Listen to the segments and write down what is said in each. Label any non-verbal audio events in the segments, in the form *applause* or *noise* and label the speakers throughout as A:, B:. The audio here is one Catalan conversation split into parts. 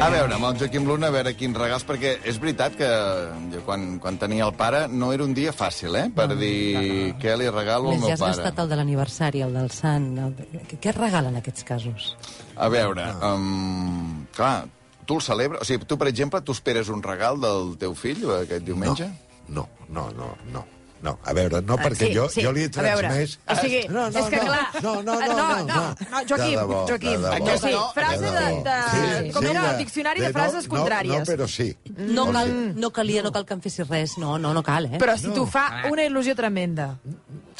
A: A veure, amb el Joaquim Luna, a veure quins regals, perquè és veritat que jo, quan, quan tenia el pare no era un dia fàcil, eh?, per dir què li regalo al
B: Més,
A: meu
B: ja has
A: pare.
B: gastat el de l'aniversari, el del sant... El... Què- Què es regala en aquests casos?
A: A veure, um, clar, tu el celebres... O sigui, tu, per exemple, tu esperes un regal del teu fill eh, aquest diumenge?
C: No, no, no, no. No, a veure, no, perquè
D: Ah, sí,
C: jo,
D: sí,
C: jo li
D: a veure,
C: transmès... Ah,
D: o sigui,
C: no, no,
D: és que
C: no,
D: clar-
C: No, no, no,
D: no,
C: no.
D: no, no, Joaquim,
C: de debò,
D: Joaquim,
C: de debò.
A: Aquesta
D: sí,
A: no,
D: frase
C: de debò.
D: de- de- com era el diccionari de frases
C: no,
D: contràries.
C: No, però Oh, sí.
B: No, cal, no calia, no cal que em fessis res. No, no, no cal, eh?
D: Però si t'ho fa una il·lusió tremenda.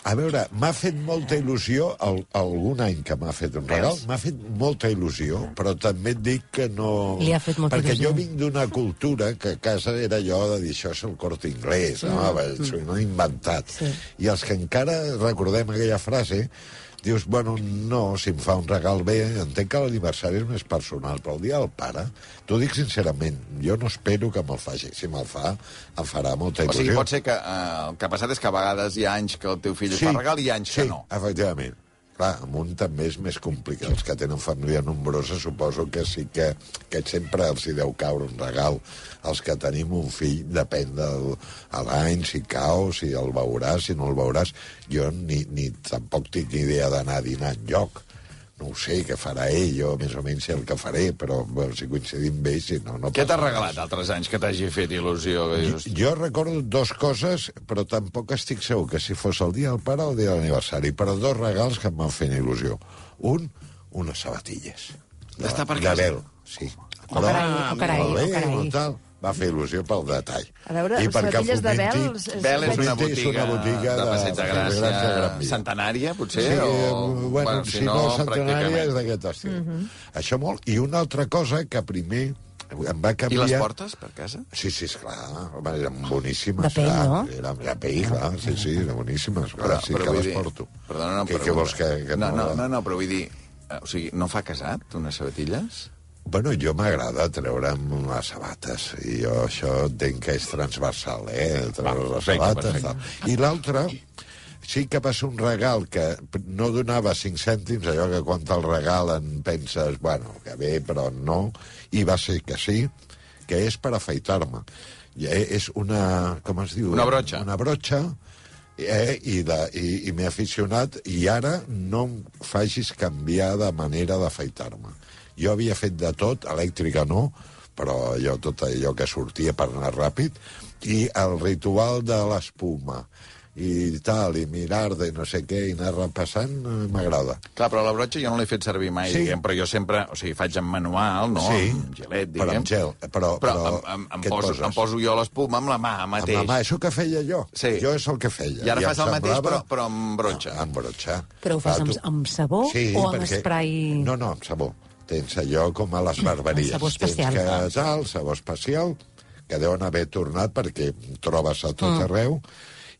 C: A veure, m'ha fet molta il·lusió el, algun any que m'ha fet un regal, m'ha fet molta il·lusió, però també et dic que no...
B: Li ha fet molta
C: Perquè
B: il·lusió.
C: jo vinc d'una cultura que a casa era allò de dir això és el cort inglès, no? Mm. no inventat.
B: Sí.
C: I els que encara recordem aquella frase, dius, bueno, no, si em fa un regal bé, entenc que l'aniversari és més personal, però el dia del pare, t'ho dic sincerament, jo no espero que me'l faci. Si me'l fa, em farà molta
A: O
C: il·lusió.
A: sigui, pot ser que eh, el que ha passat és que a vegades hi ha anys que el teu fill sí. fa regal i hi ha anys
C: sí,
A: que no.
C: efectivament. Clar, amb un també és més complicat. Els que tenen família nombrosa suposo que sí que, que sempre els hi deu caure un regal. Els que tenim un fill depèn de l'any, si cau, si el veuràs, si no el veuràs. Jo ni, ni tampoc tinc ni idea d'anar a dinar enlloc. No ho sé, què farà ell, jo més o menys sé el que faré, però bueno, si coincidim bé, si no, no
A: Què t'ha
C: passa res.
A: regalat altres anys que t'hagi fet il·lusió? Que dius,
C: Jo recordo dos coses, però tampoc estic segur que si fos el dia del pare o el dia de l'aniversari, però dos regals que em van fer il·lusió. Un, unes sabatilles.
A: D'estar per casa.
C: De vel, sí.
B: Oh, carai, oh, carai,
C: molt bé,
B: oh, carai.
C: molt tal, va fer il·lusió pel detall.
D: A veure, sabatilles de eh. vel, és- és-
A: Bel és una
C: Fomenti és
A: botiga,
C: una botiga
A: de
C: de-
A: Passeig de
C: de
A: Gràcia,
C: Gràcia, Gran Via.
A: centenària, potser?
C: Sí, sí,
A: o...
C: o... bueno, bueno, si no, centenària és d'aquest estil.
D: Mhm.
C: Això molt. I una altra cosa que primer em va
A: I
C: canviar...
A: les portes per casa?
C: Sí, sí, esclar, home, eren boníssimes.
B: De pell,
C: clar,
B: no?
C: Era, de pell, clar, sí, sí, eren boníssimes. Clar, sí que
A: vull
C: les
A: dir-
C: porto.
A: Perdona, no,
C: què, què vols que... que
A: no, no, no, no, però vull dir... eh, O sigui, no fa casat, unes sabatilles?
C: Bueno, jo m'agrada treure'm les sabates, i jo això entenc que és transversal, eh? Treure les
A: perfecte,
C: sabates,
A: perfecte.
C: tal. I l'altre, sí que va ser un regal que no donava 5 cèntims, allò que quan te'l regalen penses, bueno, que bé, però no, i va ser que sí, que és per afaitar-me. I eh, és una... com es diu?
A: Una brotxa.
C: Una brotxa, eh, i, de, i, i m'he aficionat, i ara no em facis canviar de manera d'afaitar-me. Jo havia fet de tot, elèctrica no, però jo tot allò que sortia per anar ràpid, i el ritual de l'espuma, i tal, i mirar de no sé què, i anar repassant, eh, m'agrada.
A: Clar, però la brotxa jo no l'he fet servir mai,
C: Sí.
A: sí. diguem, però jo sempre, o sigui, faig en manual, no?
C: Sí.
A: Amb gelet,
C: Però
A: diguem.
C: amb gel, però-
A: però,
C: però
A: em, em, em,
C: què et
A: poso,
C: poses?
A: em poso jo l'espuma amb la mà mateix.
C: Amb la mà, això que feia jo.
A: Sí.
C: Jo és el que feia.
A: I ara fas
C: em
A: el mateix,
C: semblava-
A: però- però amb brotxa.
C: Ah, amb brotxa.
B: Però ho fas
C: Ah,
B: amb-
C: tu-
B: amb sabó o amb esprai?
C: No, no, amb sabó. Tens allò com a les barberies.
B: Amb sabó especial.
C: Tens que tal, sabó especial, que deuen haver tornat perquè trobes a tot mm. arreu,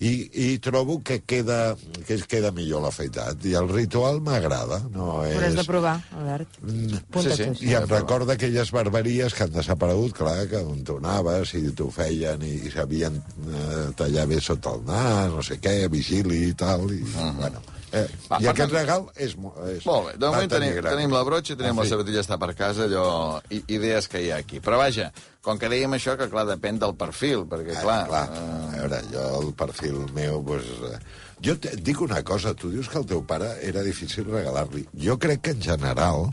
C: i, i trobo que queda, que es queda millor l'afeitat. I el ritual m'agrada. No és...
D: Ho has de provar, Albert.
B: Apunta
A: sí,
B: tu.
A: sí.
C: I em recorda aquelles barberies que han desaparegut, clar, que on tornaves i t'ho feien i, i sabien eh, tallar bé sota el nas, no sé què, vigili i tal, i, bueno... Eh,
A: Va,
C: I
A: per tant-
C: aquest regal és... mo- és
A: Molt bé, de
C: va
A: moment
C: tenir
A: tenim,
C: gran.
A: tenim la brotxa i tenim
C: Ah,
A: la
C: sí.
A: sabatilla està per casa, allò, i, idees que hi ha aquí. Però vaja, com que dèiem això, que clar, depèn del perfil, perquè
C: Ah,
A: clar...
C: clar.
A: eh,
C: A veure, jo el perfil meu... Pues, eh, jo et et dic una cosa, tu dius que el teu pare era difícil regalar-li. Jo crec que en general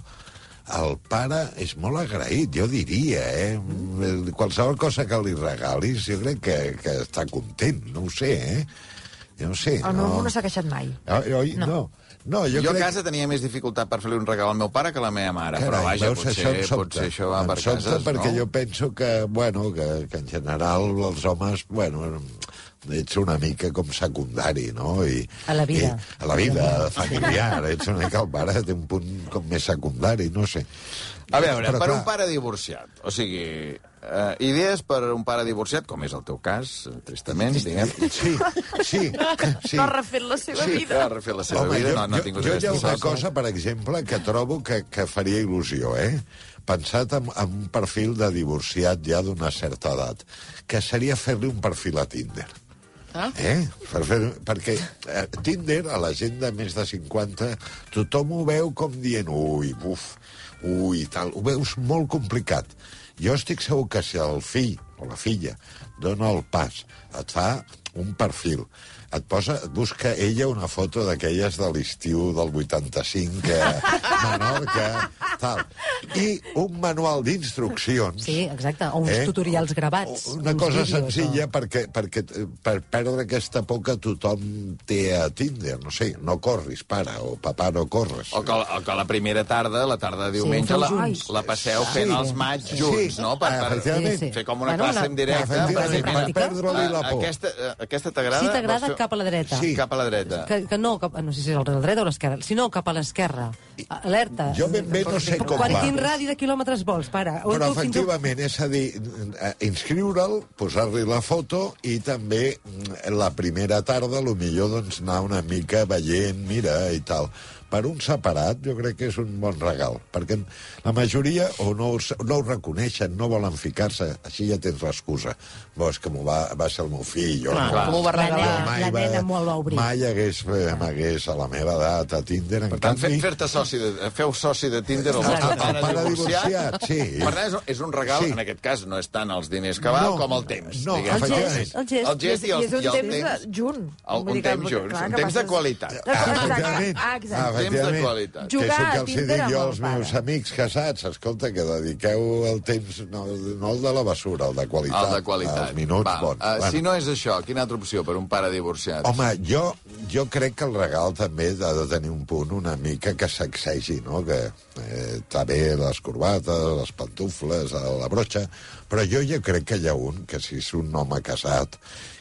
C: el pare és molt agraït, jo diria, eh? Mm. Qualsevol cosa que li regalis, jo crec que, que està content, no ho sé, eh? Jo no ho sé.
D: El meu Oh, Ah, no, no s'ha queixat mai.
C: Oi, oi, no. no. No, jo,
A: jo,
C: crec...
A: a casa tenia més dificultat per fer-li un regal al meu pare que a la meva mare, però vaja,
C: veus,
A: potser,
C: em sobta.
A: potser això va
C: Em
A: per
C: sobta
A: cases,
C: perquè
A: no?
C: jo penso que, bueno, que, que en general els homes, bueno, ets una mica com secundari, no? I,
B: A la vida.
C: I, a la vida familiar. Ets una mica el pare, té un punt com més secundari, no sé.
A: A veure,
C: Però,
A: per
C: clar,
A: un pare divorciat, o sigui, eh, idees per un pare divorciat, com és el teu cas, eh, tristament, diguem.
C: Sí, sí, sí.
D: No ha refet la seva
A: Sí,
D: vida.
A: que ha refet la seva vida, no, no ha tingut
C: jo, jo hi
A: aquesta
C: ha una
A: sort.
C: cosa, per exemple, que trobo que, que faria il·lusió, eh? Pensat en, en un perfil de divorciat ja d'una certa edat, que seria fer-li un perfil a Tinder.
E: Ah.
C: Eh? Per fer, perquè eh, Tinder, a la gent de més de 50, tothom ho veu com dient ui, buf, ui, tal. Ho veus molt complicat. Jo estic segur que si el fill o la filla dona el pas, et fa un perfil, et posa, et busca ella una foto d'aquelles de l'estiu del 85 a Menorca, tal. I un manual d'instruccions
B: Sí, exacte, o uns tutorials gravats.
C: Eh? o- Una
B: uns
C: cosa
B: vídeos,
C: senzilla
B: o-
C: perquè, perquè eh, per perdre aquesta por que tothom té a Tinder. No sé, no corris, pare, o papà, no corres.
A: O que, o que la primera tarda, la tarda de diumenge,
B: feu
A: la,
B: junts.
A: la passeu fent els maig junts,
C: Sí. Ah,
A: no? Per, per
C: Efectivament.
B: Sí, sí.
A: fer com una
B: Bueno,
A: classe
B: una-
A: en directe. per
C: Efectivament,
A: dir,
B: per
A: mira,
C: perdre-li la
A: eh,
C: por.
A: Aquesta, eh, aquesta t'agrada?
B: Si t'agrada,
A: Vols fer-
B: cap a la dreta.
C: Sí.
A: Cap a la dreta.
B: Que, que no, cap, no sé si és el la dreta o l'esquerra, sinó cap a l'esquerra. Alerta.
C: Jo ben bé no sé com
B: Quan,
C: va.
B: quin radi de quilòmetres vols, pare? On
C: Però
B: tu fins on-
C: efectivament, és a dir, eh, inscriure'l, posar-li la foto i també mm, la primera tarda, lo millor doncs, anar una mica veient, mira, i tal. Per un separat, jo crec que és un bon regal, perquè la majoria o no, ho sa- no ho reconeixen, no volen ficar-se, així ja tens l'excusa. Bo, és que m'ho va, va ser el meu fill, jo
E: Clar,
C: no
E: com ho va
B: La
E: regalar?
B: nena. nena m'ho va obrir.
C: Mai hagués, eh, m'hagués a la meva edat a Tinder, en
A: Per tant, fer-
C: canvi...
A: fer-te soci, de, feu soci de Tinder el vostre
C: Exacte.
A: pare,
C: El pare divorciat, sí.
A: Per tant, és, un- és un regal,
C: Sí.
A: sí. en aquest cas, no és tant els diners que val
C: No,
A: com el temps.
C: no,
A: diguem.
C: el gest,
B: el gest.
A: El gest i el,
D: I és un
A: i el
D: temps de-
A: temps.
D: junt.
A: El,
D: Vull
A: un
D: dir que-
A: temps junts,
D: clar,
A: un
D: que
A: temps de
D: passes-
A: qualitat.
D: Ah, exacte.
C: Efectivament.
D: Ah, exacte.
C: Ah, efectivament.
A: Temps de qualitat.
C: Que
D: Jugar
C: és el
D: a
C: que els hi
D: Tinder
C: dic
D: amb
C: jo
D: el
C: als meus
D: pare.
C: amics casats. Escolta, que dediqueu el temps, no, no el de la bessura, el de qualitat.
A: El de qualitat.
C: Els minuts
A: Val.
C: bons.
A: Eh,
C: Bueno.
A: Si no és això, quina altra opció per un pare divorciat?
C: Home, jo, jo crec que el regal també ha de tenir un punt una mica que sacsegi, no? Que eh, està bé les corbates, les pantufles, eh, la brotxa, però jo ja crec que hi ha un que si és un home casat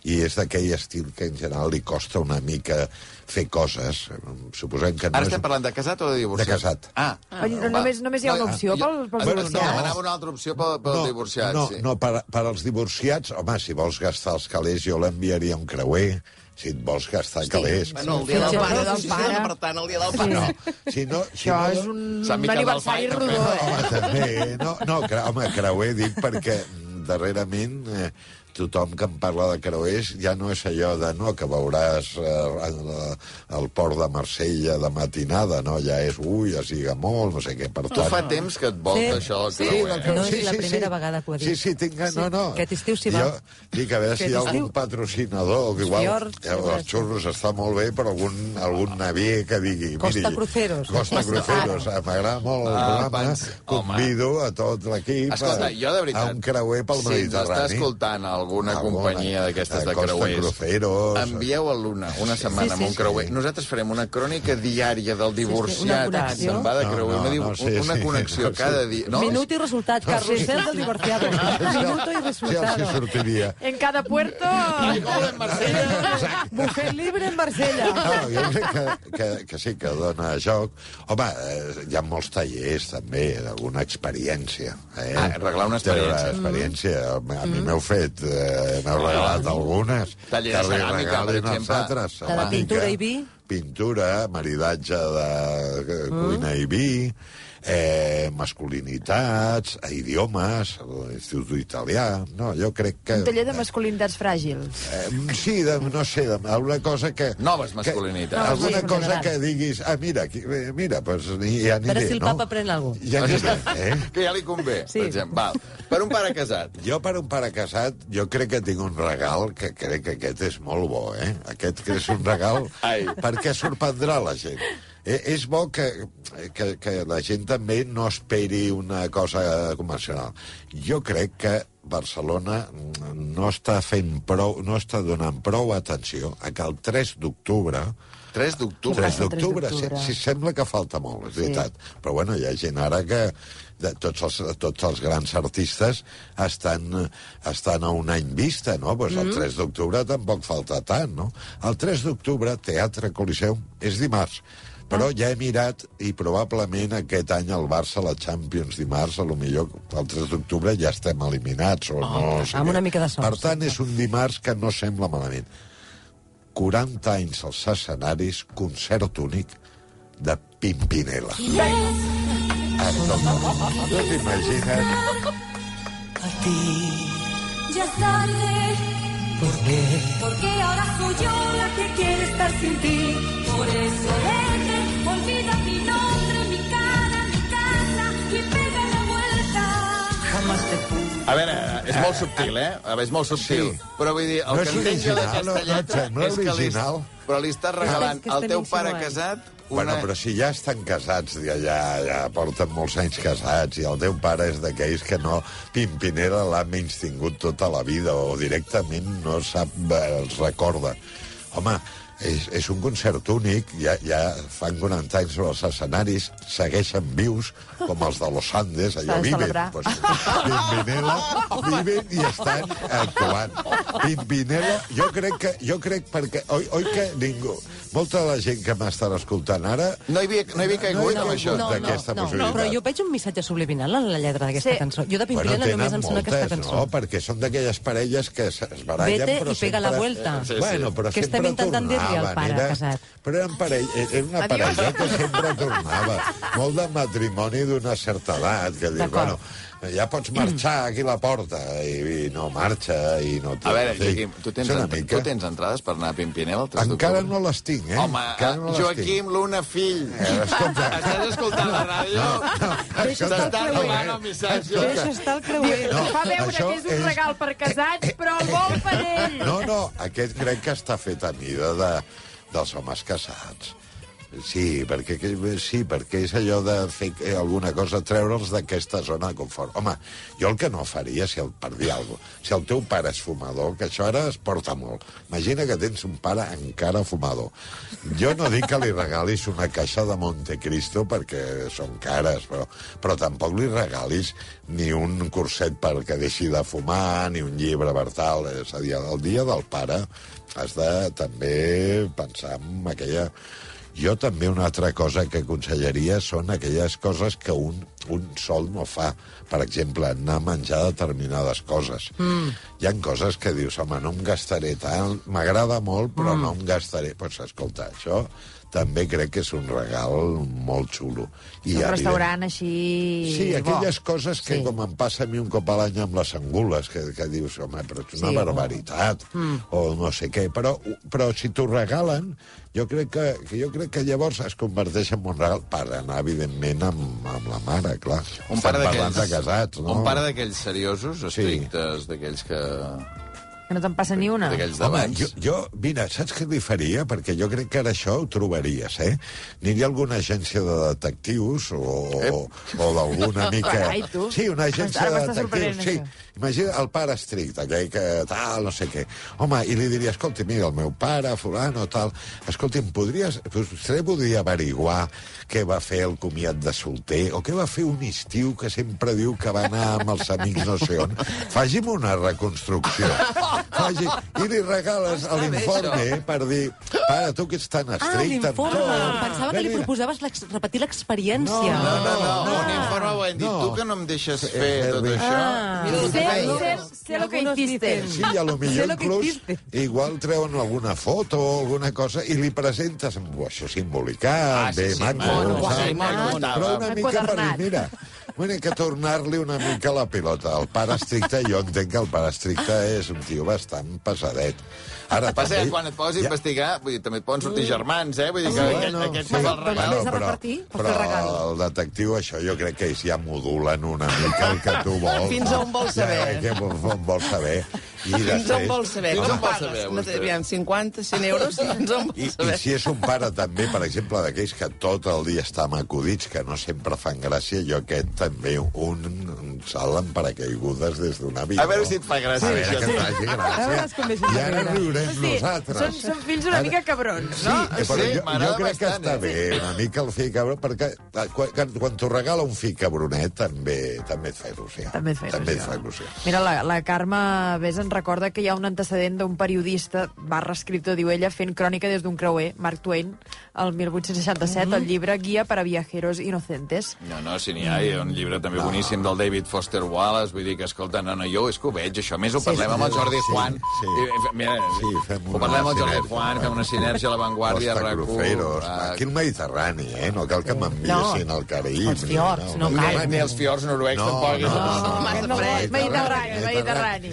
C: i és d'aquell estil que en general li costa una mica fer coses, eh, suposem que no
A: Ara
C: és...
A: estem parlant de casat o de divorciat?
C: De casat.
A: Ah.
D: Vull dir, només- només hi ha una opció pel- pel
A: bueno,
C: divorciat.
A: No, demanava una altra opció pel, pel divorciat,
C: no,
A: sí.
C: No, per, per als divorciats, home, si vols gastar els calés, jo l'enviaria a un creuer. Si et vols gastar Hosti, calés...
E: Bueno, el dia del
B: Sí,
E: pare,
B: sí,
E: doncs,
B: sí,
E: sí,
D: sí.
E: per tant, el dia del
C: No,
E: pare.
C: si no, si
D: Això
C: no,
D: és un,
A: Sant
D: un
A: Miquel del
D: aniversari
A: Fai,
D: rodó, eh?
C: Home, també, eh? no, no, cre, home, creuer dic perquè mm, darrerament eh, tothom que em parla de creuers ja no és allò de no, que veuràs eh, el, el port de Marsella de matinada, no? Ja és, ui, es lliga molt, no sé què, per
A: Tu
C: tant...
A: fa temps que et vol
B: Sí.
A: això.
B: Sí,
A: Creuer.
B: del creuer. No és la primera vegada que ho ha dit.
C: Sí, sí, tinc...
B: Sí.
C: No, no.
B: Aquest estiu s'hi va.
C: Jo dic, a veure si hi ha
B: Aquest
C: algun
B: estiu.
C: patrocinador, que igual
B: fiords,
C: eh, els xurros està molt bé, però algun, algun navier que digui...
B: Costa
C: miri,
B: Cruceros.
C: Costa Cruceros. eh, M'agrada molt el
A: Ah,
C: programa.
A: abans-
C: Convido a tot l'equip
A: Escolta,
C: a-
A: jo de veritat...
C: a un creuer pel
A: si
C: Mediterrani.
A: Si escoltant alguna
C: Alguna,
A: companyia d'aquestes de
C: eh, Costa
A: creuers,
C: Cruceros.
A: envieu-el una, una setmana
B: sí,
A: amb un
B: sí.
A: creuer. Nosaltres farem una crònica diària del
B: una
A: divorciat que
B: connexió.
A: se'n va de
C: No,
A: creuer,
C: no,
A: una, di-
C: no, sí,
A: una
C: sí,
A: connexió
C: no, sí.
A: cada dia. No,
B: Minuto y resultado. Carrusel del divorciado. Minuto y
C: Ja els hi
B: resultado.
C: sortiria.
D: En cada puerto... *laughs*
B: Buffet libre en Marsella.
C: No, jo crec que, que, que sí, que dona joc. Home, eh, hi ha molts tallers, també, d'alguna experiència. Eh?
A: Ah, arreglar una experiència.
C: Té Una experiència. A
B: Mm.
C: mi m'heu fet, eh, m'heu
B: Ah.
C: regalat algunes.
A: Taller de
C: Que li
A: ceràmica, per
C: regalin els
A: exemple.
C: altres.
B: La de
C: Home,
B: pintura
C: que-
B: i vi?
C: Pintura, maridatge de eh,
B: Mm.
C: cuina i vi, eh, masculinitats, eh, idiomes, l'institut italià... No, jo crec que...
D: Un taller de masculinitats fràgils.
C: Eh, sí, de, no sé, de, alguna cosa que...
A: Noves
C: que-
A: masculinitats.
C: Que, alguna
B: Sí,
C: cosa
B: general.
C: que diguis, ah, mira, aquí, eh, mira, pues hi, hi aniré,
B: Però si el
C: no?
B: papa pren alguna cosa.
C: Hi
A: Ah,
C: aniré, eh?
A: que ja li convé,
B: Sí.
A: per exemple. Val. Per un pare casat.
C: Jo, per un pare casat, jo crec que tinc un regal que crec que aquest és molt bo, eh? Aquest que és un regal
A: Ai.
C: perquè sorprendrà la gent. Eh, és bo que, que, que la gent també no esperi una cosa convencional. Jo crec que Barcelona mm, no està fent prou, no està donant prou atenció a que el 3 d'octubre
A: 3 d'octubre.
C: 3
B: Passa el tres
C: d'octubre, sí,
B: d'octubre.
C: sí, sembla que falta molt, és veritat. Però bueno, hi ha gent ara que de tots els, tots els grans artistes estan, estan a un any vista, no? Pues
B: Mm-hmm.
C: el 3 d'octubre tampoc falta tant, no? El 3 d'octubre, Teatre Coliseum, és dimarts.
B: Ah.
C: Però ja he mirat i probablement aquest any el Barça, la Champions dimarts, a lo millor el 3 d'octubre ja estem eliminats o no. o sigui.
B: Oh, amb una mica de sort,
C: Per tant,
B: sí.
C: és un dimarts que no sembla malament. 40 anys als escenaris, concert únic de Pimpinela. Ara, no, no, no, no t'imagines?
F: a ti. Ya es tarde,
E: ¿Por qué? Porque ahora soy yo la que quiere estar sin ti. Por eso vete, olvida mi nombre, mi cara, mi casa y pega la vuelta. Jamás te pude.
A: A veure, és molt subtil, eh? A veure, és molt subtil.
C: Sí.
A: Sí. Però vull dir, el
C: No
A: que
C: és
A: entenc jo
C: original,
A: d'aquesta
C: no- no et
A: lletra
C: sembla
A: és que li,
C: original?
A: però li estàs regalant
B: que eh? estan
A: al teu pare
B: insinuant.
A: casat
C: Una... Bueno, però
A: una...
C: si ja estan casats, ja, ja, ja porten molts anys casats, i el teu pare és d'aquells que no... Pimpinera l'ha menys tingut tota la vida, o directament no sap, eh, els recorda. Home, és, és un concert únic, ja, ja fan 40 anys sobre els escenaris, segueixen vius, com els de Los Andes,
D: S'ha
C: allò
D: de
C: viven.
D: celebrar.
C: Pues, Pimpinela, viven i estan actuant. Pimpinela, jo crec que... Jo crec perquè... Oi, oi que ningú... Molta de la gent que m'estarà escoltant ara...
A: No hi havia, no hi havia caigut,
C: No,
A: amb això.
C: no, d'aquesta
B: no, no,
C: possibilitat.
B: però jo veig un missatge subliminal en la lletra d'aquesta
D: Sí.
B: sí. cançó. Jo de Pimpinela
C: tenen
B: només em sona aquesta cançó.
C: no? Perquè són d'aquelles parelles que es es barallen,
B: Vete
C: però
B: i pega la
C: sempre...
B: vuelta.
A: Sí, sí.
C: Bueno, però
B: Que
C: sempre
B: estem intentant dir-li al
C: tornaven,
B: pare
C: era...
B: casat.
C: Però eren parell... e- era una
D: Adiós.
C: parella que sempre tornava. Molt de matrimoni d'una certa edat, que dius, bueno,
B: D'acord.
C: ja pots marxar aquí a la porta, i, i no marxa, i no... té-
A: A veure,
C: en fi,
A: Joaquim, tu tens,
C: és una
A: ent-
C: mica-
A: tu tens entrades per anar a Pimpinela el 3
C: Encara
A: d'octubre?
C: no les tinc, eh?
A: Home,
C: Encara no les
A: Joaquim, l'una fill.
C: tinc. Escolta,
A: Estàs escoltant la ràdio?
C: escolta,
A: T'està
C: no,
A: arribant
C: eh?
A: el missatge.
B: Deixa estar el creuer.
C: No,
D: Fa veure
C: això
D: que és un
C: és-
D: regal per casats, però el vol per ell.
C: No, no, aquest crec que està fet a mida de, dels homes casats. Sí, perquè, que- sí, perquè és allò de fer que- alguna cosa, treure'ls d'aquesta zona de confort. Home, jo el que no faria, si el, per dir alguna cosa, si el teu pare és fumador, que això ara es porta molt. Imagina que tens un pare encara fumador. Jo no dic que li regalis una caixa de Montecristo perquè són cares, però, però tampoc li regalis ni un curset perquè deixi de fumar, ni un llibre per tal. És a dir, el dia del pare has de també pensar en aquella... Jo també una altra cosa que aconsellaria són aquelles coses que un, un sol no fa. Per exemple, anar a menjar determinades coses. Mm. Hi han coses que dius, home, no em gastaré tant, m'agrada molt, però mm. no em gastaré. Doncs pues, escolta, això també crec que és un regal molt xulo. I,
D: Un
C: evident-
D: restaurant així...
C: Sí,
D: bo.
C: aquelles coses que,
B: Sí.
C: sí. com em passa a mi un cop a l'any amb les angules, que, que dius, home, però és
B: Sí,
C: una sí,
B: o-
C: barbaritat, mm. o no sé què. Però, però si t'ho regalen, jo crec que, que jo crec que llavors es converteix en un regal per anar, evidentment, amb, amb la mare, clar.
A: Un pare
C: Estem
A: d'aquells...
C: parlant de casats, no?
A: Un pare d'aquells seriosos, estrictes, d'aquells que...
D: Que no te'n passa ni una.
A: d'aquells
C: Home,
A: d'abans.
C: jo, jo, mira, saps què li faria? Perquè jo crec que ara això ho trobaries, eh? Aniria a alguna agència de detectius o, o, o d'alguna mica...
D: Carai, Eh? tu.
C: sí, una agència
D: Ara
C: de
D: m'està sorprenent,
C: detectius, sí.
D: això.
C: Imagina el pare estricte, aquell que tal, no sé què. Home, i li diria, escolti, mira, el meu pare, fulano, tal... Escolti'm, podries... Vostè podria averiguar què va fer el comiat de solter o què va fer un estiu que sempre diu que va anar amb els amics no sé on. Fagi'm una reconstrucció. Faci... I li regales l'informe per dir... Pare, tu que ets tan
B: Ah,
C: estricte... amb
B: l'informe.
C: tot.
B: Pensava
C: Ve,
B: que li
C: mira,
B: proposaves l'ex- repetir l'experiència.
A: No, no, no, no, un informe ho hem dit.
C: No.
A: Tu que no em deixes fer
C: eh,
A: tot
C: eh,
A: això...
D: Sé, sé, sé lo que
B: Algunos
D: hiciste.
B: dicen.
C: Sí, i a
B: *laughs*
C: lo millor
B: Sé lo que
C: inclús
B: hiciste.
C: igual treuen alguna foto o alguna cosa i li presentes amb "Buah, això simbolicat,
A: Ah, sí,
C: bé,
A: sí,
C: maco,
A: mono,
C: tal".
A: sí, mono,
C: però una mica per
D: mono.
C: dir,
D: Enquadernat.
C: mira, Bueno, que tornar-li una mica la pilota. El pare estricte, jo entenc que el pare estricte és un tio bastant pesadet. Ara,
A: Passa que
C: també-
A: quan et poses a
C: Ja- Ah,
A: investigar, vull dir, també et poden sortir germans, eh? Vull dir que
C: Sí,
A: aquest,
C: no.
A: aquest
C: Sí.
A: és el regal.
B: Només a repartir per
C: però
B: fer regal.
C: el detectiu, això jo crec que ells ja modulen una mica el que tu vols.
F: Fins on vols saber.
C: Ja, que, on vols saber. I
F: Fins on vols saber?
A: Fins
F: Com
A: on eh, vol
F: pagues?
A: saber,
F: no
A: vostè?
F: t'aviam, 50,
A: *laughs*
F: 100 euros? Fins on
C: I,
F: vols
C: I
F: saber?
C: si és un pare també, per exemple, d'aquells que tot el dia està amb acudits, que no sempre fan gràcia, jo aquest també un, un salt en paracaigudes des d'un avió.
A: A veure si et fa gràcia,
C: A veure que
A: això.
C: et faci
B: A veure com
C: gràcia.
B: deixes
C: I ara
B: riure.
C: riurem
D: Sí,
C: nosaltres.
D: són, són fills una
C: Ara-
D: mica cabrons,
C: Sí,
D: no?
C: eh, però
A: sí,
C: jo, jo
A: m'agrada
C: crec que
A: bastant,
C: està
A: eh?
C: bé, una mica el fill cabron, perquè eh, quan, quan- quan t'ho regala un fill cabronet també, també et fa il·lusió.
D: També et fa
C: També et
D: il·lusió.
C: fa il·lusió.
D: Mira, la, la Carme Bés ens recorda que hi ha un antecedent d'un periodista, barra escriptor, diu ella, fent crònica des d'un creuer, Mark Twain, el 1867, el llibre Guia per a viajeros inocentes.
A: No, no, si n'hi ha, hi ha un llibre també boníssim del David Foster Wallace, vull dir que, escolta, no, no, jo és que ho veig, això, A més ho parlem amb el Jordi
C: sí,
A: Juan.
C: sí.
A: I, eh, mira,
C: Sí, fem
A: ho
C: una
A: parlem amb el Jordi
C: sinergia.
A: Juan, fem una sinergia a l'avantguàrdia,
C: Costa Cruceros,
A: ah,
C: aquí al Mediterrani, eh? No cal que m'enviessin al Carib.
B: Als fiords, no
A: Ni,
B: Oh, cal.
A: ni els fiords noruecs
C: No,
A: tampoc. eh?
C: no, no, no,
A: no.
D: eh?
C: no.
D: Mediterrani, Mediterrani.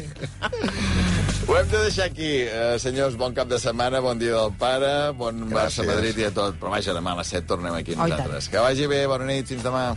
A: Ho hem de deixar aquí. Uh, senyors, bon cap de setmana, bon dia del pare, bon
C: Gràcies.
A: Barça-Madrid i a tot. Però vaja, demà a les 7 tornem aquí
B: Oh, i tant.
A: nosaltres. Que vagi bé, bona nit, fins demà.